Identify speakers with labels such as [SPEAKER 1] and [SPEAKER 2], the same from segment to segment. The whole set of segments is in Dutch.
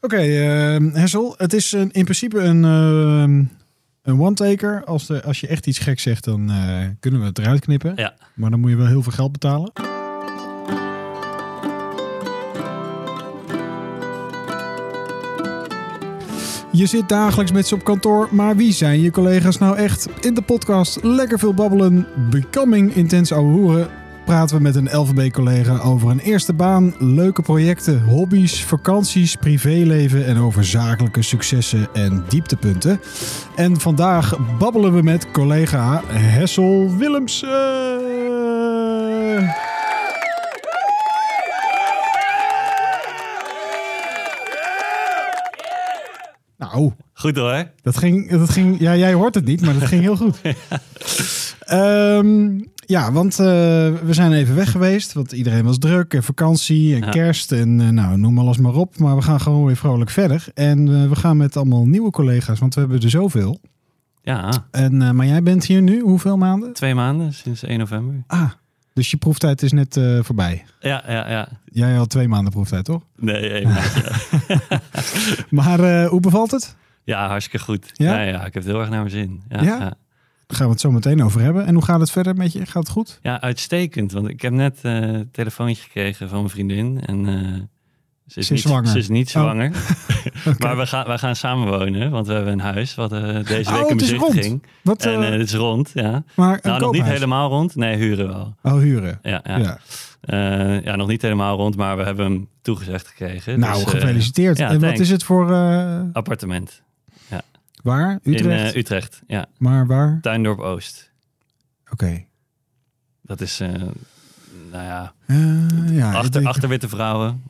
[SPEAKER 1] Oké, ehm Hessel, het is een, in principe een, ehm, een one-taker. Als, de- als je echt iets gek zegt, dan eh, kunnen we het eruit knippen.
[SPEAKER 2] Ja.
[SPEAKER 1] Maar dan moet je wel heel veel geld betalen. Je zit dagelijks met ze op kantoor, maar wie zijn je collega's nou echt? In de podcast Lekker Veel Babbelen, Becoming Intens Ouwe Hoeren... praten we met een LVB-collega over een eerste baan, leuke projecten, hobby's, vakanties, privéleven... en over zakelijke successen en dieptepunten. En vandaag babbelen we met collega Hessel Willemsen. Nou,
[SPEAKER 2] Goed hoor.
[SPEAKER 1] dat ging, dat ging, ja, jij hoort het niet, maar dat ging heel goed. Ehm, ja, want eh, we zijn even weg geweest, want iedereen was druk en vakantie en
[SPEAKER 2] Ja.
[SPEAKER 1] kerst en eh, nou, noem alles maar op. Maar we gaan gewoon weer vrolijk verder en eh, we gaan met allemaal nieuwe collega's, want we hebben er zoveel.
[SPEAKER 2] Ja,
[SPEAKER 1] En, eh, maar jij bent hier nu, hoeveel maanden?
[SPEAKER 2] twee maanden sinds 1 november.
[SPEAKER 1] Ah, dus je proeftijd is net eh, voorbij.
[SPEAKER 2] Ja, ja, ja.
[SPEAKER 1] Jij had twee maanden proeftijd, toch?
[SPEAKER 2] Nee, één maand, ja.
[SPEAKER 1] Maar eh, hoe bevalt het?
[SPEAKER 2] ja, hartstikke goed.
[SPEAKER 1] Ja?
[SPEAKER 2] Ja? Ja, ik heb het heel erg naar mijn zin. Ja,
[SPEAKER 1] Ja?
[SPEAKER 2] ja? Ja.
[SPEAKER 1] Daar gaan we het zo meteen over hebben. En hoe gaat het verder met je? Gaat het goed?
[SPEAKER 2] Ja, uitstekend. Want ik heb net eh, een telefoontje gekregen van mijn vriendin. En eh, ze, is
[SPEAKER 1] Ze is
[SPEAKER 2] niet,
[SPEAKER 1] zwanger.
[SPEAKER 2] ze is niet
[SPEAKER 1] Oh.
[SPEAKER 2] zwanger.
[SPEAKER 1] Oké.
[SPEAKER 2] Maar we gaan, wij gaan samen wonen. Want we hebben een huis wat eh, deze
[SPEAKER 1] Oh,
[SPEAKER 2] week
[SPEAKER 1] het
[SPEAKER 2] in
[SPEAKER 1] is
[SPEAKER 2] bezicht
[SPEAKER 1] rond.
[SPEAKER 2] ging.
[SPEAKER 1] Wat,
[SPEAKER 2] En
[SPEAKER 1] eh,
[SPEAKER 2] eh, het is rond, ja.
[SPEAKER 1] maar een
[SPEAKER 2] Nou, nog niet
[SPEAKER 1] koophuis?
[SPEAKER 2] helemaal rond. Nee, huren wel.
[SPEAKER 1] Oh, huren.
[SPEAKER 2] Ja, ja.
[SPEAKER 1] Ja.
[SPEAKER 2] Ja. ja, nog niet helemaal rond, maar we hebben hem toegezegd gekregen.
[SPEAKER 1] Nou,
[SPEAKER 2] Dus, eh,
[SPEAKER 1] gefeliciteerd.
[SPEAKER 2] ja,
[SPEAKER 1] en wat
[SPEAKER 2] thanks.
[SPEAKER 1] is het voor... eh,
[SPEAKER 2] appartement.
[SPEAKER 1] waar? Utrecht?
[SPEAKER 2] In eh, Utrecht, ja.
[SPEAKER 1] maar waar?
[SPEAKER 2] Tuindorp Oost.
[SPEAKER 1] Oké.
[SPEAKER 2] Dat is, eh, nou ja,
[SPEAKER 1] Eh, ja, ik
[SPEAKER 2] achter,
[SPEAKER 1] denk-
[SPEAKER 2] achter witte vrouwen.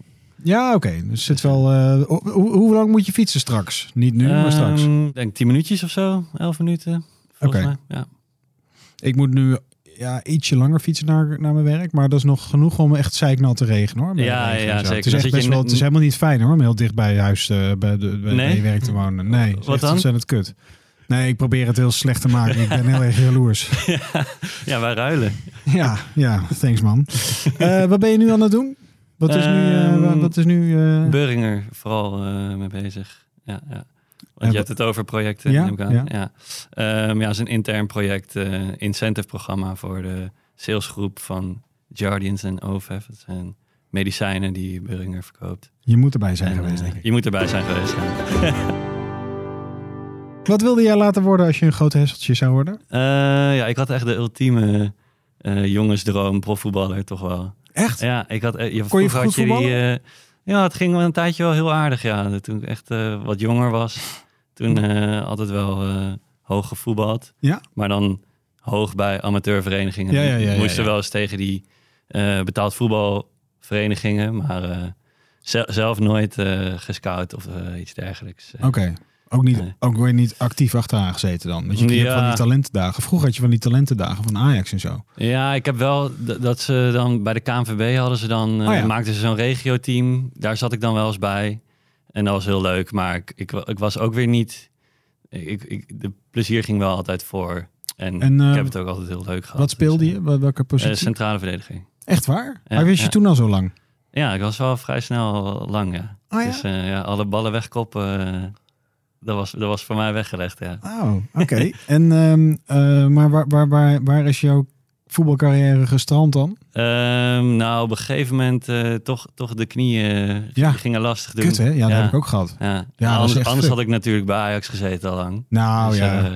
[SPEAKER 1] ja oké. Dus zit wel... eh, ho- hoe, hoe lang moet je fietsen straks? Niet nu, maar straks.
[SPEAKER 2] Ehm, Ik denk tien minuutjes of zo, elf minuten. Volgens
[SPEAKER 1] Oké.
[SPEAKER 2] mij. Ja.
[SPEAKER 1] Ik moet nu ja, ietsje langer fietsen naar, naar mijn werk. Maar dat is nog genoeg om echt zeiknat te regen hoor. bij
[SPEAKER 2] Ja,
[SPEAKER 1] de regen
[SPEAKER 2] ja,
[SPEAKER 1] en zo.
[SPEAKER 2] zeker.
[SPEAKER 1] Het is,
[SPEAKER 2] Dan
[SPEAKER 1] echt
[SPEAKER 2] zit je
[SPEAKER 1] best wel,
[SPEAKER 2] in-
[SPEAKER 1] het is helemaal niet fijn hoor. Om heel dicht bij je huis eh, bij, de, bij,
[SPEAKER 2] Nee?
[SPEAKER 1] bij je werk te wonen. Nee, het is
[SPEAKER 2] Wat
[SPEAKER 1] echt
[SPEAKER 2] dan?
[SPEAKER 1] ontzettend kut. Nee, ik probeer het heel slecht te maken. Ik ben heel erg jaloers.
[SPEAKER 2] ja, wij ruilen.
[SPEAKER 1] Ja, ja, thanks man. Eh, wat ben je nu aan het doen? Wat is nu... eh,
[SPEAKER 2] Ehm,
[SPEAKER 1] wa- wat is nu eh,
[SPEAKER 2] Beuringer vooral eh, mee bezig. Ja, ja. Want
[SPEAKER 1] wat-
[SPEAKER 2] je hebt het over projecten,
[SPEAKER 1] Ja,
[SPEAKER 2] neem ik aan.
[SPEAKER 1] ja.
[SPEAKER 2] Ja. Ehm, ja, het is een intern project, eh incentive programma voor de salesgroep van Guardians en OVEF. Dat zijn medicijnen die Beuringer verkoopt.
[SPEAKER 1] je moet erbij zijn
[SPEAKER 2] En,
[SPEAKER 1] geweest,
[SPEAKER 2] eh,
[SPEAKER 1] denk ik.
[SPEAKER 2] Je moet erbij zijn geweest. ja.
[SPEAKER 1] Wat wilde jij laten worden als je een groot hesseltje zou worden?
[SPEAKER 2] Eh, ja, ik had echt de ultieme eh, jongensdroom, profvoetballer toch wel.
[SPEAKER 1] Echt?
[SPEAKER 2] Ja, ik had, eh, je,
[SPEAKER 1] Kon je
[SPEAKER 2] vroeger
[SPEAKER 1] goed
[SPEAKER 2] had die,
[SPEAKER 1] voetballen?
[SPEAKER 2] eh, ja, het ging wel een tijdje wel heel aardig. Ja. Toen ik echt eh, wat jonger was, toen eh, altijd wel eh, hoog gevoetbald.
[SPEAKER 1] Ja.
[SPEAKER 2] Maar dan hoog bij amateurverenigingen.
[SPEAKER 1] Ja, ja, ja, ja,
[SPEAKER 2] moesten
[SPEAKER 1] ja.
[SPEAKER 2] wel eens tegen die eh, betaald voetbalverenigingen, maar eh, zel- zelf nooit eh, gescout of eh, iets dergelijks.
[SPEAKER 1] Oké. Ook, niet,
[SPEAKER 2] Nee.
[SPEAKER 1] ook weer niet actief achteraan gezeten dan. Want je hebt
[SPEAKER 2] Ja.
[SPEAKER 1] van die talentendagen. Vroeger had je van die talentendagen van Ajax en zo.
[SPEAKER 2] Ja, ik heb wel d- dat ze dan bij de KNVB hadden ze dan eh,
[SPEAKER 1] Oh ja.
[SPEAKER 2] maakten ze zo'n regioteam. Daar zat ik dan wel eens bij. En dat was heel leuk, maar ik, ik, wa- ik was ook weer niet. Ik, ik, de plezier ging wel altijd voor. En,
[SPEAKER 1] En, eh,
[SPEAKER 2] ik heb het ook altijd heel leuk gehad.
[SPEAKER 1] Wat speelde je? Wel- Welke
[SPEAKER 2] Dus, eh,
[SPEAKER 1] positie?
[SPEAKER 2] eh, centrale verdediging.
[SPEAKER 1] Echt waar?
[SPEAKER 2] Ja,
[SPEAKER 1] maar wist je
[SPEAKER 2] ja.
[SPEAKER 1] toen al zo lang?
[SPEAKER 2] Ja, ik was wel vrij snel lang. Ja.
[SPEAKER 1] Oh ja?
[SPEAKER 2] Dus eh, ja, alle ballen wegkoppen. eh, dat, was, dat was voor mij weggelegd. Ja.
[SPEAKER 1] Oh, oké. en, ehm, eh, maar waar, waar, waar, waar is jouw voetbalcarrière gestrand dan?
[SPEAKER 2] Ehm, nou, op een gegeven moment eh, toch, toch de knieën eh,
[SPEAKER 1] Ja.
[SPEAKER 2] gingen lastig doen.
[SPEAKER 1] Kut hè? Ja, dat
[SPEAKER 2] Ja.
[SPEAKER 1] heb ik ook gehad.
[SPEAKER 2] Ja,
[SPEAKER 1] Ja, dat is
[SPEAKER 2] anders,
[SPEAKER 1] echt
[SPEAKER 2] anders
[SPEAKER 1] fuck.
[SPEAKER 2] had ik natuurlijk bij Ajax gezeten al lang.
[SPEAKER 1] Nou
[SPEAKER 2] Dus,
[SPEAKER 1] ja,
[SPEAKER 2] eh,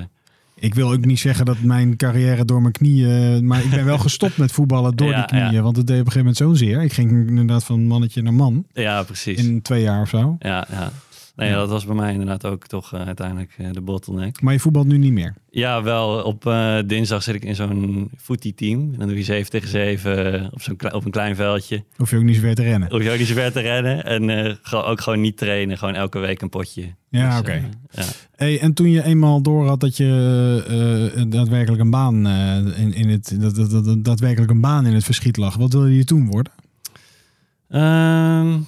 [SPEAKER 1] ik wil ook niet zeggen dat mijn carrière door mijn knieën... Maar ik ben wel gestopt met voetballen door
[SPEAKER 2] Ja,
[SPEAKER 1] die knieën.
[SPEAKER 2] ja.
[SPEAKER 1] Want het deed op een gegeven moment zo'n zeer. Ik ging inderdaad van mannetje naar man.
[SPEAKER 2] eh, ja, precies.
[SPEAKER 1] In twee jaar of zo.
[SPEAKER 2] Ja, ja. Nee,
[SPEAKER 1] Ja.
[SPEAKER 2] dat was bij mij inderdaad ook toch eh, uiteindelijk eh, de bottleneck.
[SPEAKER 1] Maar je voetbalt nu niet meer.
[SPEAKER 2] Ja, wel. Op eh, dinsdag zit ik in zo'n footy-team. En dan doe je 7 tegen 7 op, zo'n kle- op een klein veldje.
[SPEAKER 1] Hoef je ook niet zo ver te rennen.
[SPEAKER 2] Hoef je ook niet zo ver te rennen. En eh, gewoon- ook gewoon niet trainen. Gewoon elke week een potje.
[SPEAKER 1] Ja,
[SPEAKER 2] Dus,
[SPEAKER 1] oké.
[SPEAKER 2] eh, ja.
[SPEAKER 1] Hey, en toen je eenmaal door had dat je eh, daadwerkelijk een baan eh, in, in het dat, dat, dat- daadwerkelijk een baan in het verschiet lag, wat wilde je toen worden?
[SPEAKER 2] Ehm,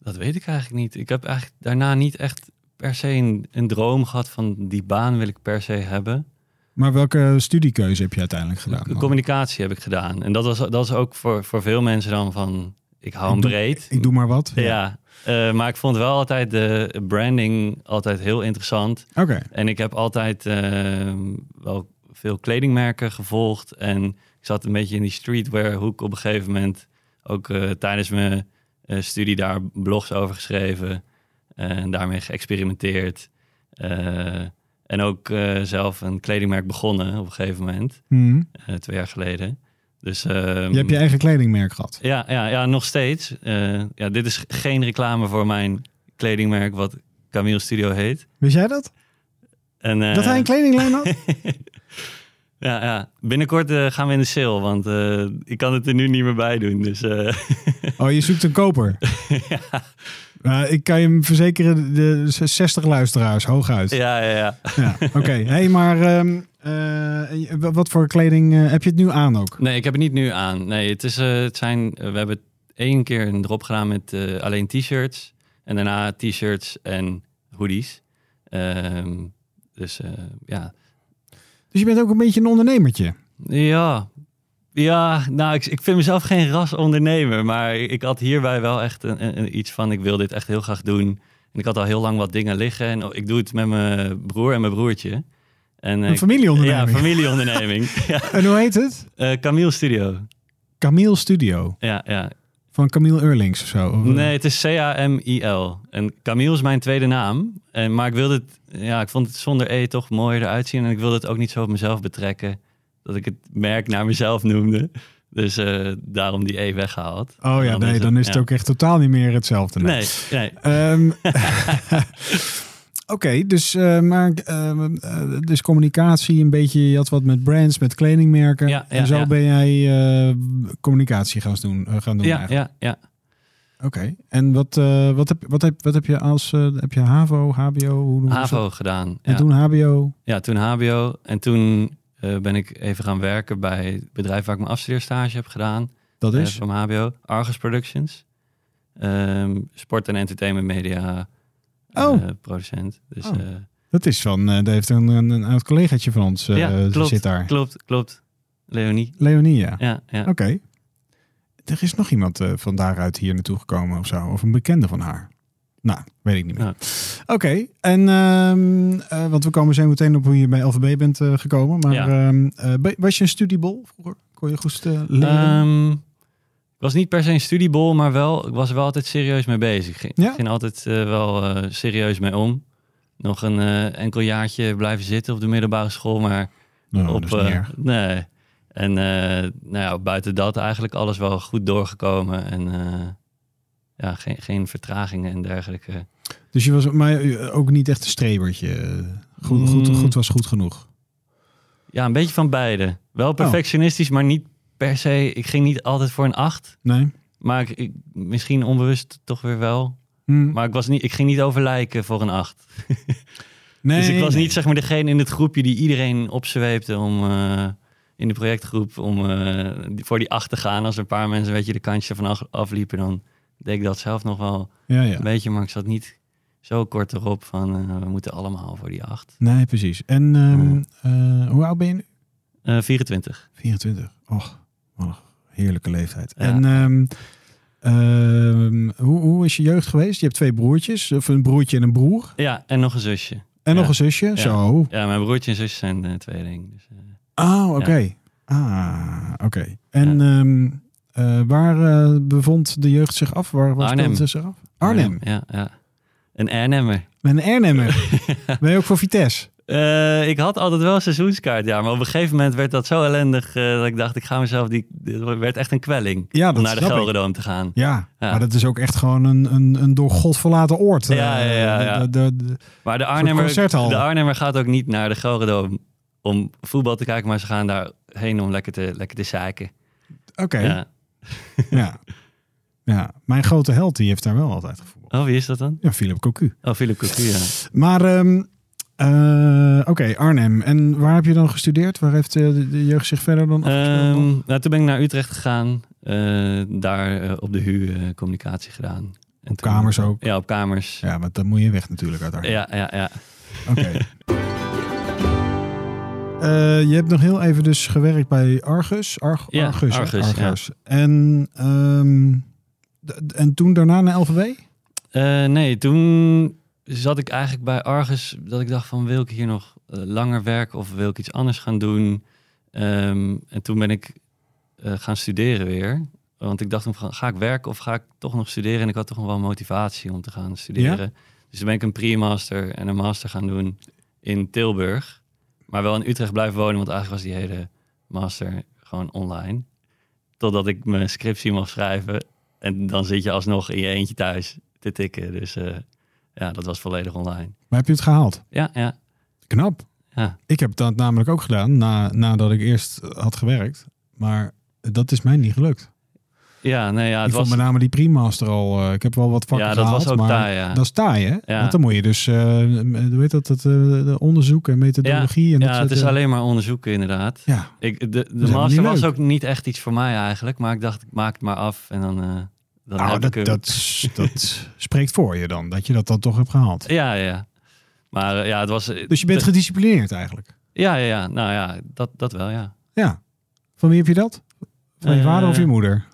[SPEAKER 2] dat weet ik eigenlijk niet. Ik heb eigenlijk daarna niet echt per se een, een droom gehad van die baan wil ik per se hebben.
[SPEAKER 1] Maar welke studiekeuze heb je uiteindelijk gedaan? dan?
[SPEAKER 2] Communicatie heb ik gedaan. En dat, was, dat is ook voor, voor veel mensen dan van... Ik, ik hou hem
[SPEAKER 1] doe-
[SPEAKER 2] breed.
[SPEAKER 1] Ik doe maar wat.
[SPEAKER 2] Ja, eh, maar ik vond wel altijd de branding altijd heel interessant.
[SPEAKER 1] Oké.
[SPEAKER 2] En ik heb altijd eh, wel veel kledingmerken gevolgd. En ik zat een beetje in die streetwear hoek op een gegeven moment. Ook eh, tijdens mijn eh, studie daar blogs over geschreven. eh, En daarmee geëxperimenteerd. Eh, en ook eh, zelf een kledingmerk begonnen op een gegeven moment.
[SPEAKER 1] Hm.
[SPEAKER 2] eh, twee jaar geleden. Dus, ehm,
[SPEAKER 1] Je hebt je eigen kledingmerk gehad.
[SPEAKER 2] ja, ja, ja, nog steeds. Eh, ja, dit is geen reclame voor mijn kledingmerk wat Camille Studio heet.
[SPEAKER 1] Wist jij dat?
[SPEAKER 2] En, eh,
[SPEAKER 1] dat hij een kledinglijn had?
[SPEAKER 2] ja, ja, binnenkort eh, gaan we in de sale, want eh, ik kan het er nu niet meer bij doen. Dus eh,
[SPEAKER 1] Oh, je zoekt een koper.
[SPEAKER 2] ja,
[SPEAKER 1] Nou, ik kan je hem verzekeren, de 60 luisteraars, hooguit. Ja.
[SPEAKER 2] ja, ja, ja.
[SPEAKER 1] Oké, hey, maar ehm, eh, w- wat voor kleding eh, heb je het nu aan ook?
[SPEAKER 2] Nee, ik heb het niet nu aan. Nee, het is, eh, het zijn, eh, we hebben één keer een drop gedaan met eh, alleen t-shirts. En daarna t-shirts en hoodies. Ehm, dus eh, ja,
[SPEAKER 1] Dus je bent ook een beetje een ondernemertje.
[SPEAKER 2] Ja, ja nou, ik, ik vind mezelf geen ras ondernemer. Maar ik had hierbij wel echt een, een- een iets van: ik wil dit echt heel graag doen. En ik had al heel lang wat dingen liggen. En ik doe het met mijn broer en mijn broertje. En, eh,
[SPEAKER 1] Een familieonderneming.
[SPEAKER 2] Ja, familieonderneming. ja.
[SPEAKER 1] En hoe heet het?
[SPEAKER 2] Eh, Camille Studio.
[SPEAKER 1] Camille Studio.
[SPEAKER 2] Ja, ja.
[SPEAKER 1] Van Camille Eurlings of eh? zo. Of-
[SPEAKER 2] Nee, het is C-A-M-I-L. En Camille is mijn tweede naam. En, maar ik wilde het, ja, ik vond het zonder E toch mooier eruit zien. En ik wilde het ook niet zo op mezelf betrekken. Dat ik het merk naar mezelf noemde. Dus eh, daarom die E weggehaald.
[SPEAKER 1] Oh ja,
[SPEAKER 2] Dan is
[SPEAKER 1] nee,
[SPEAKER 2] het-
[SPEAKER 1] dan is het
[SPEAKER 2] ja.
[SPEAKER 1] ook echt totaal niet meer hetzelfde.
[SPEAKER 2] Nee, nee.
[SPEAKER 1] Ehm, Oké, dus, eh, maar, ehm, eh, dus communicatie een beetje, je had wat met brands, met kledingmerken.
[SPEAKER 2] Ja, ja,
[SPEAKER 1] en zo
[SPEAKER 2] ja.
[SPEAKER 1] ben jij eh, communicatie gaan doen. eh, gaan doen
[SPEAKER 2] Ja,
[SPEAKER 1] eigenlijk.
[SPEAKER 2] ja, ja.
[SPEAKER 1] Oké, en wat, eh, wat, heb, wat, heb, wat heb je als, eh, heb je HAVO, HBO? Hoe noem je dat?
[SPEAKER 2] HAVO gedaan.
[SPEAKER 1] En
[SPEAKER 2] Ja.
[SPEAKER 1] toen HBO?
[SPEAKER 2] ja, toen HBO. En toen eh, ben ik even gaan werken bij het bedrijf waar ik mijn afstudeerstage heb gedaan.
[SPEAKER 1] Dat
[SPEAKER 2] Eh,
[SPEAKER 1] is?
[SPEAKER 2] van HBO, Argus Productions. Ehm, sport en entertainment media eh,
[SPEAKER 1] Oh.
[SPEAKER 2] producent. Dus,
[SPEAKER 1] Oh.
[SPEAKER 2] eh,
[SPEAKER 1] Dat is van, eh daar heeft een, een, een oud collegaatje van ons eh,
[SPEAKER 2] Ja, klopt.
[SPEAKER 1] zit daar.
[SPEAKER 2] klopt, klopt. Leonie.
[SPEAKER 1] Leonie, ja.
[SPEAKER 2] Ja, ja.
[SPEAKER 1] Oké. Er is nog iemand eh, van daaruit hier naartoe gekomen of zo. Of een bekende van haar. Nou, weet ik niet meer.
[SPEAKER 2] Ja.
[SPEAKER 1] Oké, en ehm, eh, want we komen zo meteen op hoe je bij LVB bent eh, gekomen. Maar
[SPEAKER 2] Ja.
[SPEAKER 1] ehm, eh, be- was je een studiebol vroeger? Kon je goed eh, leren?
[SPEAKER 2] Ehm, ik was niet per se een studiebol, maar wel, ik was er wel altijd serieus mee bezig. Ik ging,
[SPEAKER 1] Ja?
[SPEAKER 2] ging altijd eh, wel eh, serieus mee om. Nog een eh, enkel jaartje blijven zitten op de middelbare school, maar
[SPEAKER 1] Nou,
[SPEAKER 2] op,
[SPEAKER 1] dat is niet
[SPEAKER 2] eh,
[SPEAKER 1] erg.
[SPEAKER 2] nee. En eh, nou ja, buiten dat eigenlijk alles wel goed doorgekomen. En eh, ja, geen, geen vertragingen en dergelijke.
[SPEAKER 1] Dus je was maar eh, ook niet echt een strebertje. Goed, goed,
[SPEAKER 2] Mm.
[SPEAKER 1] goed was goed genoeg.
[SPEAKER 2] Ja, een beetje van beide.
[SPEAKER 1] Oh.
[SPEAKER 2] Wel perfectionistisch, maar niet per se. Ik ging niet altijd voor een acht.
[SPEAKER 1] Nee?
[SPEAKER 2] Maar ik, ik- misschien onbewust toch weer wel.
[SPEAKER 1] Hm.
[SPEAKER 2] Maar ik, was niet, ik ging niet over lijken voor een acht.
[SPEAKER 1] nee,
[SPEAKER 2] dus ik was
[SPEAKER 1] nee.
[SPEAKER 2] niet zeg maar degene in het groepje die iedereen opzweepte om... eh, in de projectgroep om eh, die- voor die acht te gaan. Als er een paar mensen een beetje de kantje van af- afliepen, dan deed ik dat zelf nog wel
[SPEAKER 1] Ja, ja.
[SPEAKER 2] Een beetje, maar ik zat niet zo kort erop van eh, we moeten allemaal voor die acht.
[SPEAKER 1] Nee, precies. En ehm,
[SPEAKER 2] Oh.
[SPEAKER 1] eh, hoe oud ben je nu?
[SPEAKER 2] Eh, 24.
[SPEAKER 1] 24. Och, wat een heerlijke leeftijd.
[SPEAKER 2] Ja.
[SPEAKER 1] En ehm, ehm, hoe, hoe is je jeugd geweest? Je hebt twee broertjes, of een broertje en een broer.
[SPEAKER 2] Ja, en nog een zusje.
[SPEAKER 1] En
[SPEAKER 2] Ja.
[SPEAKER 1] nog een zusje. Zo.
[SPEAKER 2] Ja, mijn broertje en zusje zijn de tweeling. Dus, eh,
[SPEAKER 1] Ah, oké. Ah, oké. En ehm, eh, waar eh, bevond de jeugd zich af? Waar, waar
[SPEAKER 2] Arnhem.
[SPEAKER 1] speelde ze zich af? Arnhem.
[SPEAKER 2] eh, Ja, ja. Een Arnhemmer.
[SPEAKER 1] Een Arnhemmer. ben je ook voor Vitesse?
[SPEAKER 2] Eh, ik had altijd wel een seizoenskaart, ja. Maar op een gegeven moment werd dat zo ellendig eh, dat ik dacht, ik ga mezelf... Die, dit werd echt een kwelling
[SPEAKER 1] Ja,
[SPEAKER 2] om
[SPEAKER 1] dat
[SPEAKER 2] naar de
[SPEAKER 1] snap ik.
[SPEAKER 2] Gelredome te gaan.
[SPEAKER 1] Ja,
[SPEAKER 2] Ja.
[SPEAKER 1] maar dat is ook echt gewoon een, een, een door God verlaten oord. eh,
[SPEAKER 2] Ja, ja, ja, ja.
[SPEAKER 1] De- de- de-
[SPEAKER 2] Maar de Arnhemmer,
[SPEAKER 1] concerthal.
[SPEAKER 2] de Arnhemmer gaat ook niet naar de Gelredome om voetbal te kijken. Maar ze gaan daarheen om lekker te, lekker te zeiken.
[SPEAKER 1] Oké.
[SPEAKER 2] Ja.
[SPEAKER 1] Ja. ja, mijn grote held die heeft daar wel altijd gevoeld.
[SPEAKER 2] Oh, wie is dat dan?
[SPEAKER 1] Ja, Philip Cocu.
[SPEAKER 2] Oh, Philip Cocu, ja.
[SPEAKER 1] Maar ehm, eh, oké, Arnhem. En waar heb je dan gestudeerd? Waar heeft eh, de, de jeugd zich verder dan afgespeeld? nog?
[SPEAKER 2] Ehm, nou, toen ben ik naar Utrecht gegaan. eh, daar eh, op de HU eh, communicatie gedaan. En toen-
[SPEAKER 1] kamers ook?
[SPEAKER 2] Ja, op kamers. Ja,
[SPEAKER 1] Ja, want dan moet je weg natuurlijk uit Arnhem.
[SPEAKER 2] ja, ja.
[SPEAKER 1] Oké. Eh, je hebt nog heel even dus gewerkt bij Argus. Arg-
[SPEAKER 2] Ja,
[SPEAKER 1] Argus. hè?
[SPEAKER 2] Argus, ja.
[SPEAKER 1] Argus. En ehm, D- En toen daarna naar LVW?
[SPEAKER 2] Eh, nee, toen zat ik eigenlijk bij Argus dat ik dacht van wil ik hier nog eh, langer werken of wil ik iets anders gaan doen. Ehm, en toen ben ik eh, gaan studeren weer. Want ik dacht, toen van, ga ik werken of ga ik toch nog studeren? En ik had toch nog wel motivatie om te gaan studeren. Dus toen ben ik een pre-master en een master gaan doen in Tilburg. Maar wel in Utrecht blijven wonen, want eigenlijk was die hele master gewoon online. Totdat ik mijn scriptie mag schrijven. En dan zit je alsnog in je eentje thuis te tikken. Dus eh, ja, dat was volledig online.
[SPEAKER 1] Maar heb je het gehaald?
[SPEAKER 2] Ja, ja,
[SPEAKER 1] Knap.
[SPEAKER 2] ja.
[SPEAKER 1] Ik heb dat namelijk ook gedaan na, nadat ik eerst had gewerkt. Maar dat is mij niet gelukt.
[SPEAKER 2] Ja, nee, ja,
[SPEAKER 1] ik
[SPEAKER 2] het
[SPEAKER 1] vond
[SPEAKER 2] was...
[SPEAKER 1] met name die pre-master al. eh, ik heb wel wat vakken
[SPEAKER 2] Ja, dat
[SPEAKER 1] gehaald,
[SPEAKER 2] was ook
[SPEAKER 1] maar
[SPEAKER 2] taai, ja.
[SPEAKER 1] Dat is taai, hè?
[SPEAKER 2] Ja.
[SPEAKER 1] Want dan moet je dus, eh, hoe heet dat, dat eh, de onderzoek en methodologie. en dat
[SPEAKER 2] Ja,
[SPEAKER 1] soort,
[SPEAKER 2] het is
[SPEAKER 1] eh,
[SPEAKER 2] alleen maar onderzoeken inderdaad.
[SPEAKER 1] Ja,
[SPEAKER 2] Ik, de de
[SPEAKER 1] helemaal
[SPEAKER 2] master
[SPEAKER 1] niet
[SPEAKER 2] was
[SPEAKER 1] leuk.
[SPEAKER 2] ook niet echt iets voor mij eigenlijk. Maar ik dacht, ik maak het maar af en dan, eh, dan
[SPEAKER 1] nou,
[SPEAKER 2] heb
[SPEAKER 1] dat,
[SPEAKER 2] ik hem.
[SPEAKER 1] dat, s- dat spreekt voor je dan, dat je dat dan toch hebt gehaald.
[SPEAKER 2] Ja, ja. Maar eh, ja, het was... eh,
[SPEAKER 1] Dus je bent
[SPEAKER 2] te-
[SPEAKER 1] gedisciplineerd eigenlijk.
[SPEAKER 2] Ja, ja, ja. Nou ja, dat, dat wel, ja.
[SPEAKER 1] Ja. Van wie heb je dat? Van je
[SPEAKER 2] Eh,
[SPEAKER 1] vader of je moeder?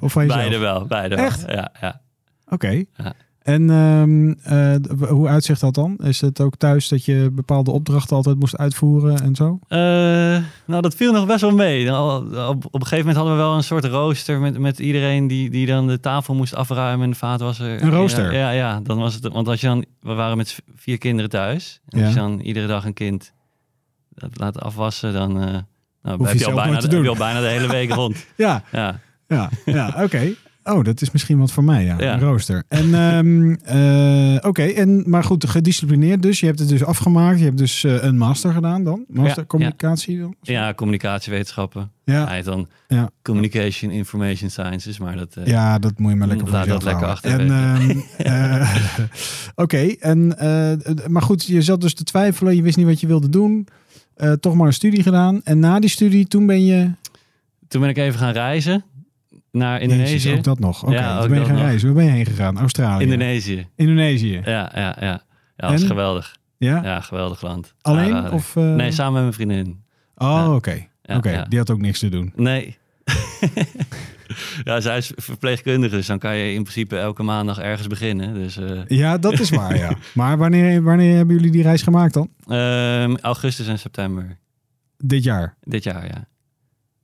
[SPEAKER 1] Of van jezelf?
[SPEAKER 2] Beide wel, beide
[SPEAKER 1] Echt?
[SPEAKER 2] wel. Ja, ja.
[SPEAKER 1] Oké.
[SPEAKER 2] Ja.
[SPEAKER 1] En ehm, eh, d- hoe uitzicht dat dan? Is het ook thuis dat je bepaalde opdrachten altijd moest uitvoeren en zo?
[SPEAKER 2] Eh, nou, dat viel nog best wel mee. Nou, Op, op een gegeven moment hadden we wel een soort rooster met, met iedereen die, die dan de tafel moest afruimen en de vaatwasser.
[SPEAKER 1] Een rooster?
[SPEAKER 2] Ja, ja, ja, dan was het. Want als je dan, we waren met z'n vier kinderen thuis. En
[SPEAKER 1] Ja.
[SPEAKER 2] als je dan iedere dag een kind dat laat afwassen, dan eh, nou,
[SPEAKER 1] je
[SPEAKER 2] heb, je
[SPEAKER 1] zelf
[SPEAKER 2] al
[SPEAKER 1] nooit te
[SPEAKER 2] bijna, de- heb je
[SPEAKER 1] doen.
[SPEAKER 2] al bijna de hele week rond.
[SPEAKER 1] Ja,
[SPEAKER 2] Ja.
[SPEAKER 1] ja, ja, oké. Oh, dat is misschien wat voor mij, ja.
[SPEAKER 2] Ja.
[SPEAKER 1] Een rooster. En, ehm, eh, oké, en, maar goed, gedisciplineerd dus. Je hebt het dus afgemaakt. Je hebt dus eh, een master gedaan dan. Master
[SPEAKER 2] Ja,
[SPEAKER 1] communicatie dan.
[SPEAKER 2] ja, communicatiewetenschappen.
[SPEAKER 1] Ja.
[SPEAKER 2] Hij heet dan
[SPEAKER 1] Ja.
[SPEAKER 2] Communication Information Sciences, maar dat. eh,
[SPEAKER 1] Ja, dat moet je maar lekker voor
[SPEAKER 2] Laat
[SPEAKER 1] jezelf
[SPEAKER 2] dat
[SPEAKER 1] houden.
[SPEAKER 2] lekker
[SPEAKER 1] En, ehm, eh, Oké, en, eh, maar goed, je zat dus te twijfelen. Je wist niet wat je wilde doen. Eh, toch maar een studie gedaan. En na die studie, toen ben je...
[SPEAKER 2] Toen ben ik even gaan reizen naar Indonesië.
[SPEAKER 1] Jezus, ook dat nog. Oké,
[SPEAKER 2] Ja,
[SPEAKER 1] toen
[SPEAKER 2] ook
[SPEAKER 1] ben je
[SPEAKER 2] dat
[SPEAKER 1] gaan
[SPEAKER 2] nog.
[SPEAKER 1] reizen. Waar ben je heen gegaan? Australië.
[SPEAKER 2] Indonesië.
[SPEAKER 1] Indonesië.
[SPEAKER 2] Ja, ja, ja. Ja, dat
[SPEAKER 1] En?
[SPEAKER 2] is geweldig.
[SPEAKER 1] Ja?
[SPEAKER 2] Ja, geweldig land.
[SPEAKER 1] Alleen?
[SPEAKER 2] Aanrader.
[SPEAKER 1] of, eh,
[SPEAKER 2] Nee, samen met mijn vriendin.
[SPEAKER 1] Oh,
[SPEAKER 2] Ja.
[SPEAKER 1] oké.
[SPEAKER 2] Ja,
[SPEAKER 1] Oké,
[SPEAKER 2] ja.
[SPEAKER 1] die had ook niks te doen.
[SPEAKER 2] Nee. ja, zij is verpleegkundige, dus dan kan je in principe elke maandag ergens beginnen. Dus eh,
[SPEAKER 1] Ja, dat is waar, ja. Maar wanneer, wanneer hebben jullie die reis gemaakt dan?
[SPEAKER 2] ehm, augustus en september
[SPEAKER 1] Dit jaar?
[SPEAKER 2] dit jaar, ja.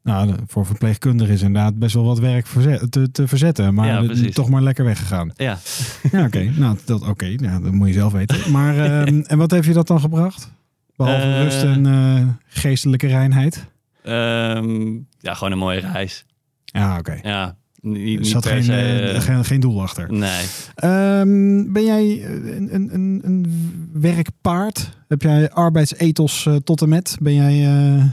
[SPEAKER 1] Nou, de- voor verpleegkundigen is inderdaad best wel wat werk verze- te, te verzetten. Maar
[SPEAKER 2] Ja,
[SPEAKER 1] de-
[SPEAKER 2] precies.
[SPEAKER 1] toch maar lekker weggegaan.
[SPEAKER 2] Ja,
[SPEAKER 1] Ja, oké. Nou, dat, oké. Nou, dat moet je zelf weten. Maar, ehm, en wat heeft je dat dan gebracht? Behalve
[SPEAKER 2] Eh.
[SPEAKER 1] rust en eh, geestelijke reinheid?
[SPEAKER 2] Ehm, ja gewoon een mooie reis.
[SPEAKER 1] Ja, oké.
[SPEAKER 2] Ja, niet,
[SPEAKER 1] Er
[SPEAKER 2] niet
[SPEAKER 1] zat
[SPEAKER 2] per
[SPEAKER 1] geen,
[SPEAKER 2] se,
[SPEAKER 1] eh,
[SPEAKER 2] eh,
[SPEAKER 1] geen, geen doel achter.
[SPEAKER 2] Nee.
[SPEAKER 1] Ehm, ben jij eh, een, een, een, een werkpaard? Heb jij arbeidsethos eh, tot en met? Ben jij, eh,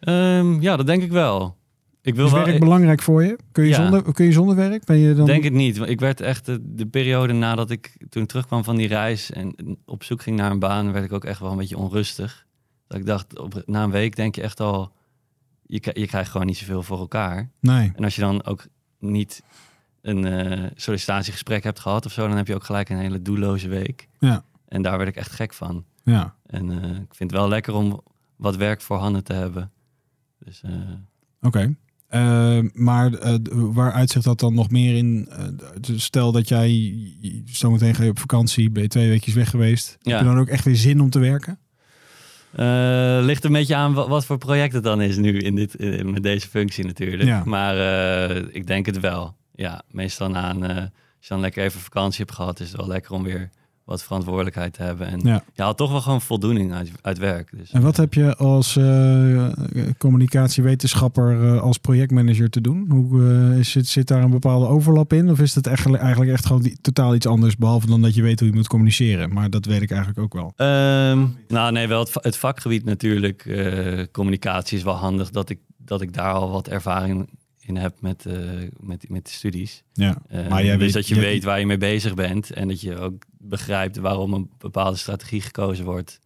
[SPEAKER 2] Ehm, ja, dat denk ik wel. Ik wil
[SPEAKER 1] is
[SPEAKER 2] wel. e-
[SPEAKER 1] werk belangrijk voor je? Kun je,
[SPEAKER 2] Ja.
[SPEAKER 1] zonder, kun je zonder werk? Ben je dan...
[SPEAKER 2] Denk het niet. want Ik werd echt de, de periode nadat ik toen terugkwam van die reis en op zoek ging naar een baan, werd ik ook echt wel een beetje onrustig. Dat ik dacht, op, na een week denk je echt al, je, kri- je krijgt gewoon niet zoveel voor elkaar.
[SPEAKER 1] Nee.
[SPEAKER 2] En als je dan ook niet een eh, sollicitatiegesprek hebt gehad of zo, dan heb je ook gelijk een hele doelloze week.
[SPEAKER 1] Ja.
[SPEAKER 2] En daar werd ik echt gek van.
[SPEAKER 1] Ja.
[SPEAKER 2] En eh, ik vind het wel lekker om wat werk voor handen te hebben. Dus eh,
[SPEAKER 1] Oké. Eh, maar eh, d- waaruit zich dat dan nog meer in? Eh, d- stel dat jij zometeen ga je op vakantie, ben je twee weekjes weg geweest.
[SPEAKER 2] Ja.
[SPEAKER 1] Heb je dan ook echt weer zin om te werken?
[SPEAKER 2] Eh, ligt een beetje aan wa- wat voor project het dan is nu in dit, eh, met deze functie natuurlijk.
[SPEAKER 1] Ja.
[SPEAKER 2] Maar eh, ik denk het wel. Ja, meestal na een, eh, als je dan lekker even vakantie hebt gehad, is het wel lekker om weer wat verantwoordelijkheid te hebben. En
[SPEAKER 1] Ja.
[SPEAKER 2] je haalt toch wel gewoon voldoening uit, uit werk. Dus,
[SPEAKER 1] En wat heb je als eh, communicatiewetenschapper, eh, als projectmanager te doen? Hoe eh, zit, zit daar een bepaalde overlap in? Of is dat echt, eigenlijk echt gewoon die- totaal iets anders, behalve dan dat je weet hoe je moet communiceren? Maar dat weet ik eigenlijk ook wel.
[SPEAKER 2] Ehm, nou nee, wel het, va- het vakgebied natuurlijk. eh, communicatie is wel handig dat ik, dat ik daar al wat ervaring in heb met, eh, met, met de studies.
[SPEAKER 1] Ja.
[SPEAKER 2] Eh,
[SPEAKER 1] Maar jij
[SPEAKER 2] dus
[SPEAKER 1] weet-
[SPEAKER 2] dat je
[SPEAKER 1] jij-
[SPEAKER 2] weet waar je mee bezig bent en dat je ook begrijpt waarom een bepaalde strategie gekozen wordt.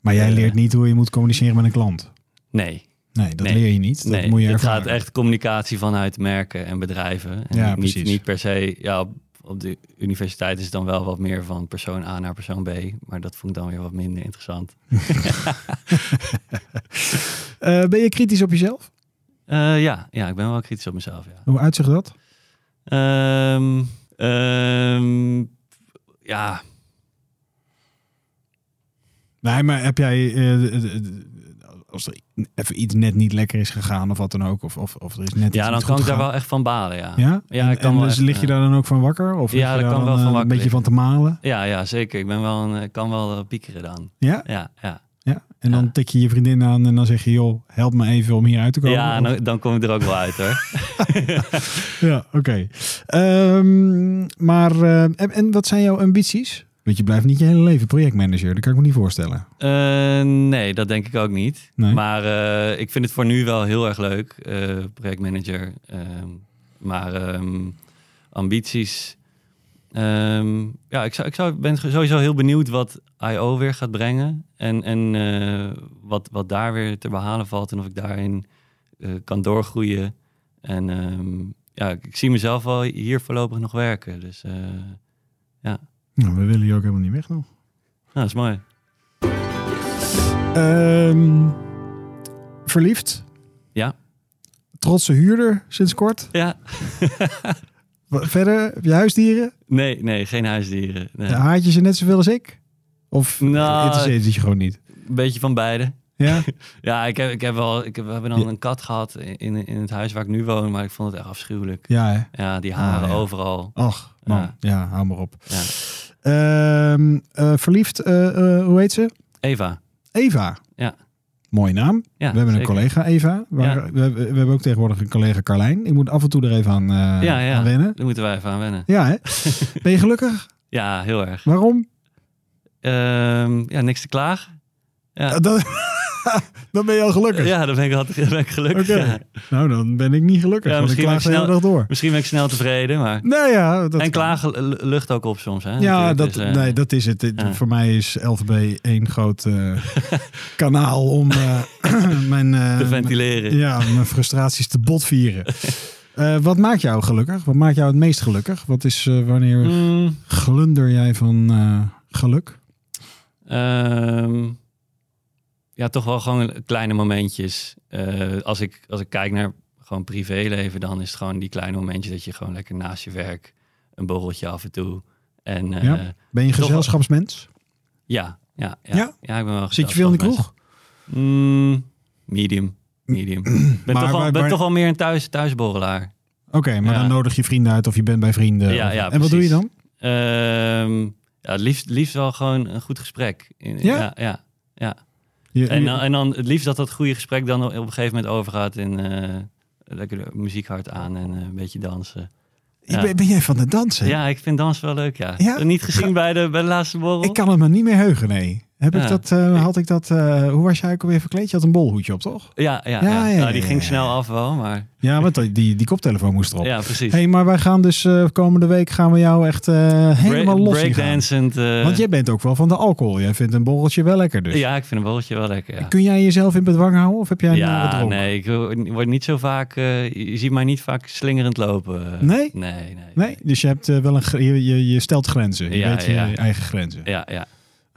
[SPEAKER 1] Maar jij
[SPEAKER 2] Eh.
[SPEAKER 1] leert niet hoe je moet communiceren met een klant.
[SPEAKER 2] Nee,
[SPEAKER 1] Nee, dat
[SPEAKER 2] Nee.
[SPEAKER 1] leer je niet. Dus Dat
[SPEAKER 2] nee.
[SPEAKER 1] moet je
[SPEAKER 2] het
[SPEAKER 1] ervaren.
[SPEAKER 2] gaat echt communicatie vanuit merken en bedrijven. En
[SPEAKER 1] Ja,
[SPEAKER 2] niet,
[SPEAKER 1] precies.
[SPEAKER 2] niet per se, ja, op, op de universiteit is het dan wel wat meer van persoon A naar persoon B, maar dat vond ik dan weer wat minder interessant.
[SPEAKER 1] Eh, ben je kritisch op jezelf?
[SPEAKER 2] Eh, ja, ja, ik ben wel kritisch op mezelf. Ja.
[SPEAKER 1] Hoe uitzicht dat?
[SPEAKER 2] Ehm, ehm, ja,
[SPEAKER 1] Nee, maar heb jij... eh, d- d- d- als er even iets net niet lekker is gegaan of wat dan ook, of, of, of er is net iets
[SPEAKER 2] ja, dan
[SPEAKER 1] niet
[SPEAKER 2] kan
[SPEAKER 1] goed
[SPEAKER 2] ik daar
[SPEAKER 1] gegaan.
[SPEAKER 2] wel echt van balen, ja.
[SPEAKER 1] Ja?
[SPEAKER 2] Ja,
[SPEAKER 1] en,
[SPEAKER 2] ik kan
[SPEAKER 1] en
[SPEAKER 2] wel
[SPEAKER 1] dus
[SPEAKER 2] echt,
[SPEAKER 1] lig je
[SPEAKER 2] eh,
[SPEAKER 1] daar dan ook van wakker? Of
[SPEAKER 2] ja,
[SPEAKER 1] lig je
[SPEAKER 2] daar
[SPEAKER 1] daar
[SPEAKER 2] kan
[SPEAKER 1] dan,
[SPEAKER 2] wel
[SPEAKER 1] eh,
[SPEAKER 2] van
[SPEAKER 1] Een
[SPEAKER 2] wakker
[SPEAKER 1] beetje van te malen?
[SPEAKER 2] Ja, ja zeker. Ik ben wel een, ik kan wel eh, piekeren dan.
[SPEAKER 1] Ja?
[SPEAKER 2] Ja, ja.
[SPEAKER 1] Ja? En dan
[SPEAKER 2] Ja.
[SPEAKER 1] tik je je vriendin aan en dan zeg je, joh, help me even om hier uit te komen?
[SPEAKER 2] ja
[SPEAKER 1] Of-
[SPEAKER 2] nou, dan kom ik er ook wel uit hoor.
[SPEAKER 1] Ja, oké. Ehm, maar, eh, en, en wat zijn jouw ambities? Want je blijft niet je hele leven projectmanager. Dat kan ik me niet voorstellen.
[SPEAKER 2] Eh, nee, dat denk ik ook niet.
[SPEAKER 1] Nee.
[SPEAKER 2] Maar eh, ik vind het voor nu wel heel erg leuk, eh, projectmanager. Ehm, maar ehm, ambities. Ehm, ja, ik, zou, ik zou, ben sowieso heel benieuwd wat I.O. weer gaat brengen. En, en eh, wat, wat daar weer te behalen valt. En of ik daarin eh, kan doorgroeien. En ehm, ja, ik, ik zie mezelf wel hier voorlopig nog werken. Dus eh,
[SPEAKER 1] Nou, we willen je ook helemaal niet weg nog.
[SPEAKER 2] nou, dat is mooi.
[SPEAKER 1] Ehm, verliefd?
[SPEAKER 2] Ja.
[SPEAKER 1] Trotse huurder sinds kort?
[SPEAKER 2] Ja,
[SPEAKER 1] Wa- Verder, heb je huisdieren?
[SPEAKER 2] nee, nee, geen huisdieren. Nee.
[SPEAKER 1] Haat je ze net zoveel als ik? Of
[SPEAKER 2] Nou,
[SPEAKER 1] interesseert het je gewoon niet?
[SPEAKER 2] Een beetje van beide.
[SPEAKER 1] Ja?
[SPEAKER 2] Ja, ik heb, ik heb wel. Ik heb, we hebben dan een kat gehad in, in het huis waar ik nu woon, maar ik vond het echt afschuwelijk.
[SPEAKER 1] Ja, hè?
[SPEAKER 2] Ja, die haren
[SPEAKER 1] Ah, ja.
[SPEAKER 2] overal.
[SPEAKER 1] Och, man. Ja.
[SPEAKER 2] Ja.
[SPEAKER 1] hou maar op.
[SPEAKER 2] Ja.
[SPEAKER 1] Ehm, eh, verliefd, eh, eh, hoe heet ze?
[SPEAKER 2] Eva.
[SPEAKER 1] Eva.
[SPEAKER 2] Ja.
[SPEAKER 1] Mooie naam.
[SPEAKER 2] Ja,
[SPEAKER 1] we hebben
[SPEAKER 2] zeker.
[SPEAKER 1] een collega, Eva. Waar, we, hebben- we hebben ook tegenwoordig een collega, Carlijn. Ik moet af en toe er even aan, eh,
[SPEAKER 2] Ja, ja.
[SPEAKER 1] aan wennen.
[SPEAKER 2] Daar moeten wij even aan wennen.
[SPEAKER 1] Ja, hè? Ben je gelukkig?
[SPEAKER 2] Ja, heel erg.
[SPEAKER 1] Waarom?
[SPEAKER 2] Ehm, ja, niks te klagen. Ja.
[SPEAKER 1] Eh, Dan, dan ben je al gelukkig.
[SPEAKER 2] Ja, dan ben ik altijd dan ben ik gelukkig.
[SPEAKER 1] Oké.
[SPEAKER 2] ja.
[SPEAKER 1] Nou, dan ben ik niet gelukkig.
[SPEAKER 2] Ja,
[SPEAKER 1] want ik
[SPEAKER 2] misschien
[SPEAKER 1] klaag de
[SPEAKER 2] ben ik
[SPEAKER 1] hele dag door.
[SPEAKER 2] Misschien ben ik snel tevreden, maar.
[SPEAKER 1] Nou ja, dat
[SPEAKER 2] en
[SPEAKER 1] kan.
[SPEAKER 2] klagen l- lucht ook op soms. Hè?
[SPEAKER 1] Ja,
[SPEAKER 2] Natuurlijk,
[SPEAKER 1] dat,
[SPEAKER 2] dus, eh,
[SPEAKER 1] nee, dat is het.
[SPEAKER 2] ja.
[SPEAKER 1] Voor mij is LVB één groot eh, kanaal om eh, mijn, eh,
[SPEAKER 2] Te
[SPEAKER 1] mijn-
[SPEAKER 2] ventileren.
[SPEAKER 1] ja, mijn frustraties te botvieren. Eh, wat maakt jou gelukkig? Wat maakt jou het meest gelukkig? Wat is eh, wanneer
[SPEAKER 2] Mm,
[SPEAKER 1] glunder jij van eh, geluk?
[SPEAKER 2] Ehm, ja, toch wel gewoon kleine momentjes. Eh, als, ik, als ik kijk naar gewoon privéleven, dan is het gewoon die kleine momentjes dat je gewoon lekker naast je werk een borreltje af en toe. En eh,
[SPEAKER 1] Ja?
[SPEAKER 2] ja.
[SPEAKER 1] Ben je
[SPEAKER 2] Toch wel-
[SPEAKER 1] gezelschapsmens?
[SPEAKER 2] Ja, ja, ja,
[SPEAKER 1] Ja?
[SPEAKER 2] ik ben wel
[SPEAKER 1] Zit je veel in de
[SPEAKER 2] gezelschapsmens.
[SPEAKER 1] kroeg?
[SPEAKER 2] Mm, medium, medium. Ik ben,
[SPEAKER 1] Maar
[SPEAKER 2] toch,
[SPEAKER 1] waar-
[SPEAKER 2] al, ben
[SPEAKER 1] waar-
[SPEAKER 2] toch al meer een thuis, thuisborrelaar.
[SPEAKER 1] Oké, maar
[SPEAKER 2] Ja.
[SPEAKER 1] dan nodig je vrienden uit of je bent bij vrienden.
[SPEAKER 2] Ja,
[SPEAKER 1] Of-
[SPEAKER 2] ja,
[SPEAKER 1] en wat doe je
[SPEAKER 2] precies.
[SPEAKER 1] dan?
[SPEAKER 2] Ehm, ja, het liefst, liefst wel gewoon een goed gesprek. In-
[SPEAKER 1] Ja?
[SPEAKER 2] ja, ja.
[SPEAKER 1] Je-
[SPEAKER 2] En
[SPEAKER 1] je-
[SPEAKER 2] dan, en dan het liefst dat dat goede gesprek dan op een gegeven moment overgaat in eh, lekker de muziek hard aan en eh, een beetje dansen. ja.
[SPEAKER 1] ben, ben jij van het dansen?
[SPEAKER 2] Ja, ik vind dans wel leuk, ja. Eh,
[SPEAKER 1] Ja?
[SPEAKER 2] Niet gezien bij de, bij de laatste borrel.
[SPEAKER 1] Ik kan het me niet meer heugen, nee. Heb ik
[SPEAKER 2] Ja.
[SPEAKER 1] dat, eh, had ik dat, eh, hoe was jij ook alweer verkleed? Je had een bolhoedje op, toch?
[SPEAKER 2] Ja, ja, ja,
[SPEAKER 1] Ja, ja,
[SPEAKER 2] Nou, die
[SPEAKER 1] ja,
[SPEAKER 2] ging
[SPEAKER 1] ja,
[SPEAKER 2] snel
[SPEAKER 1] ja.
[SPEAKER 2] af wel, maar
[SPEAKER 1] Ja, want die, die, die koptelefoon moest erop.
[SPEAKER 2] ja, precies.
[SPEAKER 1] hey, maar wij gaan dus eh, komende week gaan we jou echt eh, helemaal los zien gaan.
[SPEAKER 2] Breakdancend. eh,
[SPEAKER 1] Want jij bent ook wel van de alcohol. Jij vindt een borreltje wel lekker dus.
[SPEAKER 2] Ja, ik vind een borreltje wel lekker, ja.
[SPEAKER 1] Kun jij jezelf in bedwang houden of heb jij een eh,
[SPEAKER 2] Ja,
[SPEAKER 1] gedronken?
[SPEAKER 2] nee, ik word niet zo vaak, eh, je ziet mij niet vaak slingerend lopen.
[SPEAKER 1] Nee?
[SPEAKER 2] Nee, nee.
[SPEAKER 1] Nee? Dus je, hebt, eh, wel een, gr- je, je, je stelt grenzen. Je
[SPEAKER 2] Ja,
[SPEAKER 1] weet je
[SPEAKER 2] ja.
[SPEAKER 1] eigen grenzen.
[SPEAKER 2] Ja, ja.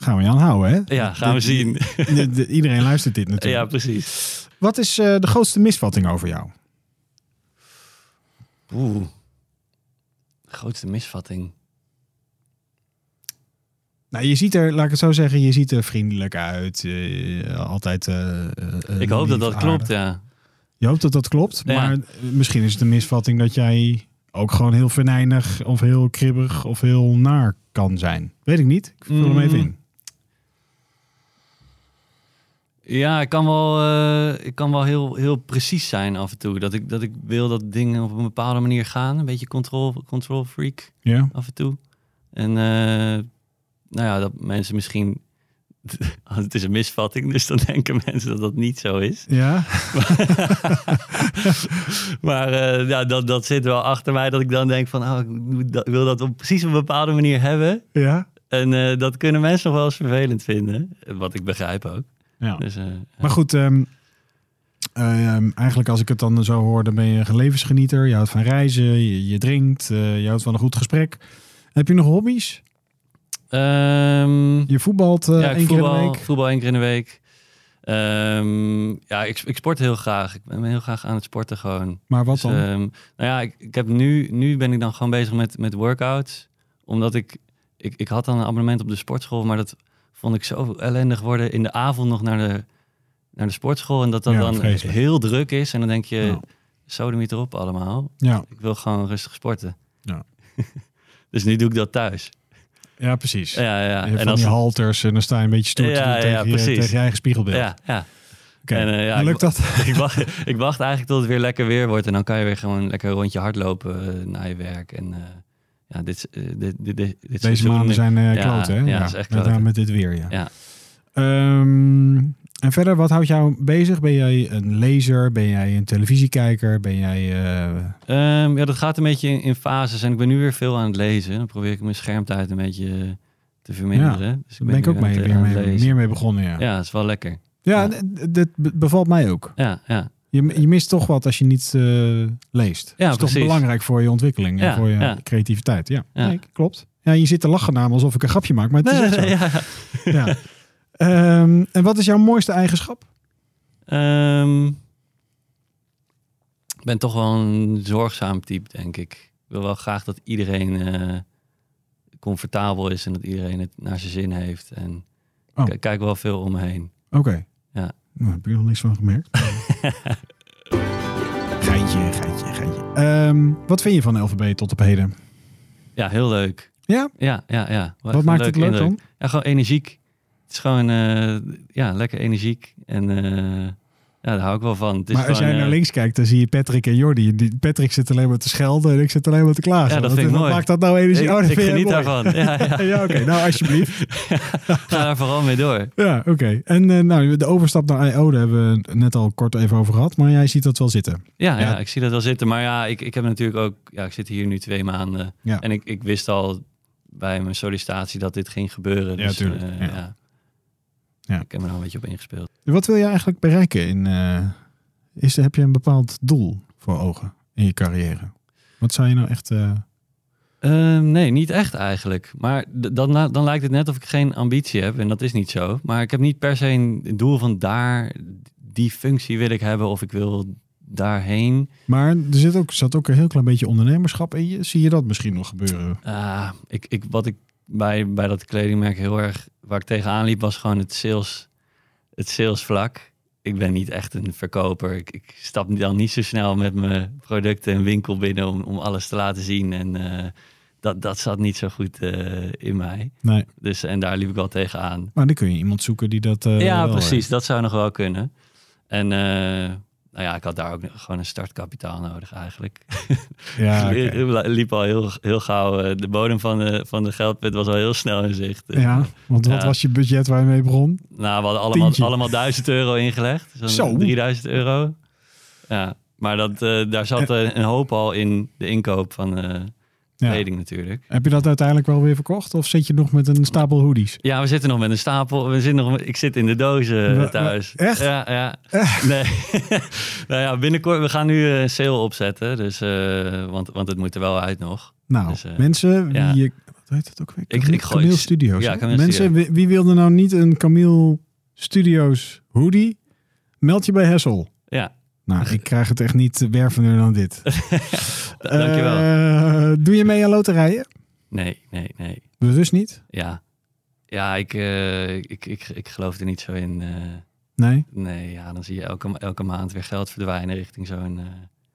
[SPEAKER 1] Gaan we je aan houden, hè?
[SPEAKER 2] ja gaan we
[SPEAKER 1] Dit-
[SPEAKER 2] zien.
[SPEAKER 1] dit- dit- Iedereen luistert dit natuurlijk.
[SPEAKER 2] Ja, precies.
[SPEAKER 1] Wat is eh, de grootste misvatting over jou?
[SPEAKER 2] Oeh. Grootste misvatting.
[SPEAKER 1] Nou, je ziet er, laat ik het zo zeggen, je ziet er vriendelijk uit. eh, altijd. eh, eh,
[SPEAKER 2] Ik hoop dat
[SPEAKER 1] lief,
[SPEAKER 2] dat
[SPEAKER 1] aardig.
[SPEAKER 2] klopt, ja.
[SPEAKER 1] Je hoopt dat dat klopt,
[SPEAKER 2] Ja.
[SPEAKER 1] maar misschien is het een misvatting dat jij ook gewoon heel venijnig of heel kribbig of heel naar kan zijn. Weet ik niet. Ik vul hem
[SPEAKER 2] Mm.
[SPEAKER 1] even in.
[SPEAKER 2] Ja, ik kan wel, eh, ik kan wel heel, heel precies zijn af en toe. Dat ik, dat ik wil dat dingen op een bepaalde manier gaan. Een beetje control, control freak
[SPEAKER 1] Ja.
[SPEAKER 2] af en toe. En eh, nou ja, dat mensen misschien... Het is een misvatting, dus dan denken mensen dat dat niet zo is.
[SPEAKER 1] Ja.
[SPEAKER 2] Maar eh, ja, dat, dat zit wel achter mij. Dat ik dan denk van, oh, ik moet dat- ik wil dat op precies een bepaalde manier hebben.
[SPEAKER 1] Ja.
[SPEAKER 2] En eh, dat kunnen mensen nog wel eens vervelend vinden. Wat ik begrijp ook.
[SPEAKER 1] ja.
[SPEAKER 2] Dus, eh,
[SPEAKER 1] Maar goed, ehm, ehm, eigenlijk als ik het dan zo hoor, dan ben je een levensgenieter. Je houdt van reizen, je, je drinkt, eh, je houdt van een goed gesprek. Heb je nog hobby's?
[SPEAKER 2] ehm,
[SPEAKER 1] Je voetbalt eh
[SPEAKER 2] ja, ik
[SPEAKER 1] één keer in
[SPEAKER 2] voetbal,
[SPEAKER 1] de week.
[SPEAKER 2] voetbal één keer in de week. Eh, Ehm, ja, ik, ik sport heel graag. Ik ben heel graag aan het sporten gewoon.
[SPEAKER 1] Maar wat dan?
[SPEAKER 2] Dus, ehm, nou ja, ik, ik heb nu, nu ben ik dan gewoon bezig met, met workouts. Omdat ik, ik, ik had dan een abonnement op de sportschool, maar dat vond ik zo ellendig worden. In de avond nog naar de, naar de sportschool en dat dat
[SPEAKER 1] Ja,
[SPEAKER 2] dan
[SPEAKER 1] vreselijk.
[SPEAKER 2] heel druk is. En dan denk je,
[SPEAKER 1] Ja.
[SPEAKER 2] zo de meter op allemaal.
[SPEAKER 1] ja.
[SPEAKER 2] Ik wil gewoon rustig sporten.
[SPEAKER 1] Ja.
[SPEAKER 2] dus nu doe ik dat thuis.
[SPEAKER 1] ja, precies.
[SPEAKER 2] Ja, ja.
[SPEAKER 1] en van die halters en dan sta je een beetje stoer te
[SPEAKER 2] Ja,
[SPEAKER 1] doen
[SPEAKER 2] ja,
[SPEAKER 1] tegen, je,
[SPEAKER 2] precies.
[SPEAKER 1] tegen je eigen spiegelbeeld.
[SPEAKER 2] ja, ja.
[SPEAKER 1] Oké.
[SPEAKER 2] En, eh, ja,
[SPEAKER 1] En lukt
[SPEAKER 2] ik-
[SPEAKER 1] dat?
[SPEAKER 2] ik, wacht, ik wacht eigenlijk tot het weer lekker weer wordt. En dan kan je weer gewoon lekker een rondje hardlopen eh, na je werk. En eh, ja, dit, eh, dit, dit, dit, dit
[SPEAKER 1] Deze
[SPEAKER 2] seizoen-
[SPEAKER 1] maanden zijn eh
[SPEAKER 2] Ja,
[SPEAKER 1] kloot, hè?
[SPEAKER 2] ja, dat is echt
[SPEAKER 1] met,
[SPEAKER 2] kloten.
[SPEAKER 1] met dit weer, ja.
[SPEAKER 2] Ja.
[SPEAKER 1] Ehm, en verder, wat houdt jou bezig? Ben jij een lezer? Ben jij een televisiekijker? Ben jij... eh,
[SPEAKER 2] Ehm, ja, dat gaat een beetje in, in fases. En ik ben nu weer veel aan het lezen. Dan probeer ik mijn schermtijd een beetje eh, te verminderen. dus
[SPEAKER 1] daar ben ik
[SPEAKER 2] nu
[SPEAKER 1] ook mee,
[SPEAKER 2] aan het-
[SPEAKER 1] weer
[SPEAKER 2] aan het
[SPEAKER 1] mee,
[SPEAKER 2] lezen.
[SPEAKER 1] meer mee begonnen, ja. Ja,
[SPEAKER 2] Ja, dat is wel lekker. Ja.
[SPEAKER 1] d- dit be- bevalt mij ook.
[SPEAKER 2] Ja, ja.
[SPEAKER 1] Je, je mist toch wat als je niet eh, leest.
[SPEAKER 2] Ja,
[SPEAKER 1] dat is toch
[SPEAKER 2] precies.
[SPEAKER 1] belangrijk voor je ontwikkeling en
[SPEAKER 2] Ja,
[SPEAKER 1] voor je
[SPEAKER 2] ja.
[SPEAKER 1] creativiteit. Ja,
[SPEAKER 2] Ja.
[SPEAKER 1] Nee, klopt. Ja, je zit te lachen namen alsof ik een grapje maak, maar het is echt zo.
[SPEAKER 2] ja.
[SPEAKER 1] ja. Ehm, en wat is jouw mooiste eigenschap?
[SPEAKER 2] Ehm, ik ben toch wel een zorgzaam type, denk ik. Ik wil wel graag dat iedereen eh, comfortabel is en dat iedereen het naar zijn zin heeft. En
[SPEAKER 1] Oh.
[SPEAKER 2] ik kijk wel veel om me heen.
[SPEAKER 1] Oké.
[SPEAKER 2] Ja.
[SPEAKER 1] Nou, heb je nog niks van gemerkt. geintje, geintje, geintje. Ehm, wat vind je van LVB tot op heden?
[SPEAKER 2] Ja, heel leuk.
[SPEAKER 1] Ja?
[SPEAKER 2] Ja, ja, ja. Echt
[SPEAKER 1] wat
[SPEAKER 2] een
[SPEAKER 1] maakt het
[SPEAKER 2] leuke
[SPEAKER 1] leuk dan?
[SPEAKER 2] indruk. Ja, gewoon energiek. Het is gewoon, eh, ja, lekker energiek. En eh, ja, daar hou ik wel van. Het is
[SPEAKER 1] Maar als
[SPEAKER 2] gewoon,
[SPEAKER 1] jij naar
[SPEAKER 2] eh,
[SPEAKER 1] links kijkt, dan zie je Patrick en Jordi. Die- Patrick zit alleen maar te schelden en ik zit alleen maar te klagen.
[SPEAKER 2] Ja, dat vind ik
[SPEAKER 1] wat
[SPEAKER 2] mooi.
[SPEAKER 1] maakt dat nou energie?
[SPEAKER 2] Ik,
[SPEAKER 1] oh, dat
[SPEAKER 2] ik
[SPEAKER 1] vind jij
[SPEAKER 2] geniet
[SPEAKER 1] mooi.
[SPEAKER 2] daarvan. Ja, ja.
[SPEAKER 1] Ja, oké. Nou, alsjeblieft.
[SPEAKER 2] Ga daar vooral mee door.
[SPEAKER 1] Ja, oké. En eh, nou, de overstap naar I.O. daar hebben we net al kort even over gehad. Maar jij ziet dat wel zitten.
[SPEAKER 2] Ja, ja.
[SPEAKER 1] Ja.
[SPEAKER 2] ik zie dat wel zitten. Maar ja, ik, ik heb natuurlijk ook... Ja, ik zit hier nu twee maanden.
[SPEAKER 1] Ja.
[SPEAKER 2] En ik, ik wist al bij mijn sollicitatie dat dit ging gebeuren.
[SPEAKER 1] Ja,
[SPEAKER 2] Dus,
[SPEAKER 1] tuurlijk.
[SPEAKER 2] eh,
[SPEAKER 1] Ja.
[SPEAKER 2] ja.
[SPEAKER 1] Ja.
[SPEAKER 2] Ik heb me daar een beetje op ingespeeld.
[SPEAKER 1] Wat wil je eigenlijk bereiken? In, eh, is, heb je een bepaald doel voor ogen in je carrière? Wat zou je nou echt... eh,
[SPEAKER 2] Ehm, nee, niet echt eigenlijk. Maar d- dan, la- dan lijkt het net of ik geen ambitie heb. En dat is niet zo. Maar ik heb niet per se een doel van daar... Die functie wil ik hebben of ik wil daarheen.
[SPEAKER 1] Maar er zit ook, zat ook een heel klein beetje ondernemerschap in je. Zie je dat misschien nog gebeuren?
[SPEAKER 2] Ah, ik, ik, wat ik bij, bij dat kledingmerk heel erg waar ik tegenaan liep, was gewoon het sales, het salesvlak. Ik ben niet echt een verkoper. Ik, ik stap dan niet zo snel met mijn producten een winkel binnen om, om alles te laten zien. En eh, dat, dat zat niet zo goed eh, in mij.
[SPEAKER 1] Nee.
[SPEAKER 2] Dus, en daar liep ik al tegenaan.
[SPEAKER 1] Maar dan kun je iemand zoeken die dat... eh,
[SPEAKER 2] ja,
[SPEAKER 1] wel
[SPEAKER 2] precies. Dat zou nog wel kunnen. En eh, nou ja, ik had daar ook nog gewoon een startkapitaal nodig eigenlijk.
[SPEAKER 1] heeft. Ja, Ah, oké.
[SPEAKER 2] Ik liep al heel, heel gauw. eh, De bodem van de, van de geldput was al heel snel in zicht.
[SPEAKER 1] ja want wat
[SPEAKER 2] Ja.
[SPEAKER 1] was je budget waar je mee begon?
[SPEAKER 2] Nou, we hadden allemaal,
[SPEAKER 1] Tientje.
[SPEAKER 2] allemaal 1000 euro ingelegd. Zo'n
[SPEAKER 1] Zo.
[SPEAKER 2] 3000 euro. Ja, maar dat, eh, daar zat eh, een hoop al in de inkoop van eh
[SPEAKER 1] Ja.
[SPEAKER 2] kleding natuurlijk.
[SPEAKER 1] Heb je dat uiteindelijk wel weer verkocht? Of zit je nog met een stapel hoodies?
[SPEAKER 2] Ja, we zitten nog met een stapel. We zitten nog, met- ik zit in de dozen eh,
[SPEAKER 1] Wa-
[SPEAKER 2] thuis.
[SPEAKER 1] wa- echt?
[SPEAKER 2] Ja, ja. Nee. nou ja, binnenkort. We gaan nu eh, een sale opzetten. Dus, eh, want, want het moet er wel uit nog.
[SPEAKER 1] Nou,
[SPEAKER 2] Dus, eh,
[SPEAKER 1] mensen, wie...
[SPEAKER 2] ja.
[SPEAKER 1] je- Wat heet dat ook weer?
[SPEAKER 2] Ik-
[SPEAKER 1] Camille-
[SPEAKER 2] ik gooi-
[SPEAKER 1] Camille Studios.
[SPEAKER 2] ja,
[SPEAKER 1] hè?
[SPEAKER 2] Camille
[SPEAKER 1] mensen, Wie, wie wilde nou niet een Camille Studios hoodie? Meld je bij Hessel.
[SPEAKER 2] Ja,
[SPEAKER 1] Nou, ik krijg het echt niet wervender dan dit.
[SPEAKER 2] d- dankjewel.
[SPEAKER 1] Eh, doe je mee aan loterijen?
[SPEAKER 2] Nee, nee, nee.
[SPEAKER 1] Bewust niet?
[SPEAKER 2] Ja, ja ik, eh, ik, ik, ik geloof er niet zo in. eh.
[SPEAKER 1] Nee?
[SPEAKER 2] nee, ja, dan zie je elke, elke maand weer geld verdwijnen richting zo'n... eh,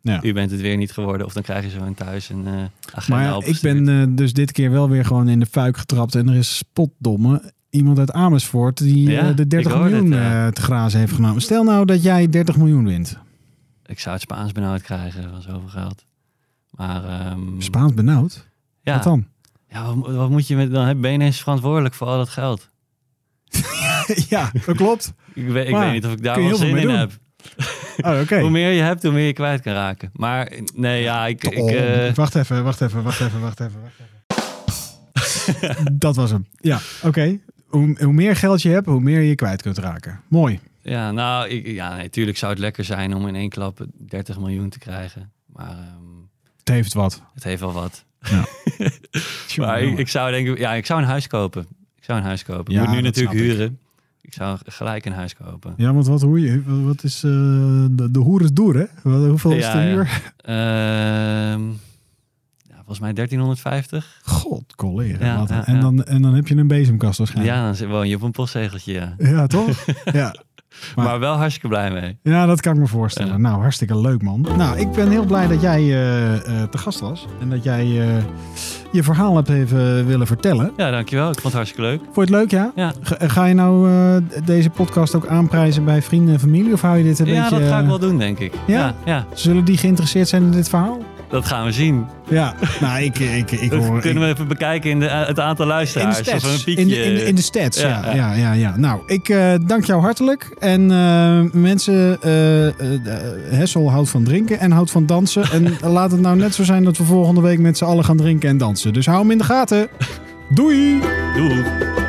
[SPEAKER 1] Ja.
[SPEAKER 2] U bent het weer niet geworden. Of dan krijg je zo een thuis een eh agenda
[SPEAKER 1] Maar ja, ik
[SPEAKER 2] opgestuurd.
[SPEAKER 1] ben eh, dus dit keer wel weer gewoon in de fuik getrapt. En er is spotdomme iemand uit Amersfoort die
[SPEAKER 2] Ja,
[SPEAKER 1] eh, de 30
[SPEAKER 2] ik hoor
[SPEAKER 1] miljoen
[SPEAKER 2] het, ja.
[SPEAKER 1] eh, te grazen heeft genomen. Stel nou dat jij 30 miljoen wint.
[SPEAKER 2] Ik zou het Spaans benauwd krijgen van zoveel geld. Maar ehm,
[SPEAKER 1] Spaans benauwd?
[SPEAKER 2] ja,
[SPEAKER 1] Wat dan?
[SPEAKER 2] ja wat, wat moet je met... Dan heb- ben je ineens verantwoordelijk voor al dat geld.
[SPEAKER 1] ja, dat klopt.
[SPEAKER 2] Ik, weet ik
[SPEAKER 1] Maar
[SPEAKER 2] weet niet of ik daar
[SPEAKER 1] kun je
[SPEAKER 2] wel
[SPEAKER 1] heel veel
[SPEAKER 2] zin in
[SPEAKER 1] mee doen.
[SPEAKER 2] heb.
[SPEAKER 1] Oh, oké.
[SPEAKER 2] Hoe meer je hebt, hoe meer je kwijt kan raken. Maar eh, nee, ja, ik... ik
[SPEAKER 1] Oh,
[SPEAKER 2] eh,
[SPEAKER 1] Wacht even, wacht even, wacht even, wacht even. Wacht even. dat was hem. Ja, oké. Hoe, hoe meer geld je hebt, hoe meer je kwijt kunt raken. Mooi.
[SPEAKER 2] Ja, nou, ik, ja, nee, tuurlijk zou het lekker zijn om in één klap 30 miljoen te krijgen. Maar ehm,
[SPEAKER 1] Het heeft wat.
[SPEAKER 2] het heeft wel wat.
[SPEAKER 1] Tjonge,
[SPEAKER 2] Maar ik,
[SPEAKER 1] jonge.
[SPEAKER 2] ik zou denk ik, ja, ik zou een huis kopen. Ik zou een huis kopen.
[SPEAKER 1] Ja,
[SPEAKER 2] ik moet nu
[SPEAKER 1] dat
[SPEAKER 2] natuurlijk
[SPEAKER 1] snap ik.
[SPEAKER 2] huren. Ik zou gelijk een huis kopen.
[SPEAKER 1] Ja, want wat hoor je? Wat is eh, de, de hoer is door, hè? Wel, Hoeveel is de
[SPEAKER 2] Ja, ja.
[SPEAKER 1] huur?
[SPEAKER 2] Ehm, ja, volgens mij 1350.
[SPEAKER 1] God, collega.
[SPEAKER 2] Ja,
[SPEAKER 1] wat een-
[SPEAKER 2] ja,
[SPEAKER 1] En,
[SPEAKER 2] ja.
[SPEAKER 1] dan, en dan heb je een bezemkast waarschijnlijk.
[SPEAKER 2] Ja, dan woon je op een postzegeltje, ja.
[SPEAKER 1] Ja, toch? ja. Maar-
[SPEAKER 2] Maar, wel hartstikke blij mee.
[SPEAKER 1] ja, dat kan ik me voorstellen.
[SPEAKER 2] Ja.
[SPEAKER 1] Nou, hartstikke leuk, man. Nou, ik ben heel blij dat jij eh, eh, te gast was. En dat jij eh, je verhaal hebt even willen vertellen.
[SPEAKER 2] Ja, dankjewel. Ik vond het hartstikke leuk.
[SPEAKER 1] Vond je het leuk, ja?
[SPEAKER 2] Ja.
[SPEAKER 1] Ga, ga je nou eh, deze podcast ook aanprijzen bij vrienden en familie? Of hou je dit een
[SPEAKER 2] ja,
[SPEAKER 1] beetje...
[SPEAKER 2] dat ga ik
[SPEAKER 1] eh,
[SPEAKER 2] wel doen, denk ik.
[SPEAKER 1] Ja?
[SPEAKER 2] Ja, ja,
[SPEAKER 1] Zullen die geïnteresseerd zijn in dit verhaal?
[SPEAKER 2] dat gaan we zien.
[SPEAKER 1] Ja, nou, ik, ik, ik
[SPEAKER 2] Dat
[SPEAKER 1] hoor...
[SPEAKER 2] kunnen we even bekijken in de, eh, het aantal
[SPEAKER 1] ik- in de
[SPEAKER 2] luisteraars.
[SPEAKER 1] stats.
[SPEAKER 2] of een piekje.
[SPEAKER 1] in, de, in, de, in de stats, ja. Ja,
[SPEAKER 2] Ja,
[SPEAKER 1] ja, ja, Nou, ik eh, dank jou hartelijk. En eh, mensen, eh, eh, eh, Hessel houdt van drinken en houdt van dansen. En laat het nou net zo zijn dat we volgende week met z'n allen gaan drinken en dansen. Dus hou hem in de gaten. Doei!
[SPEAKER 2] Doeg.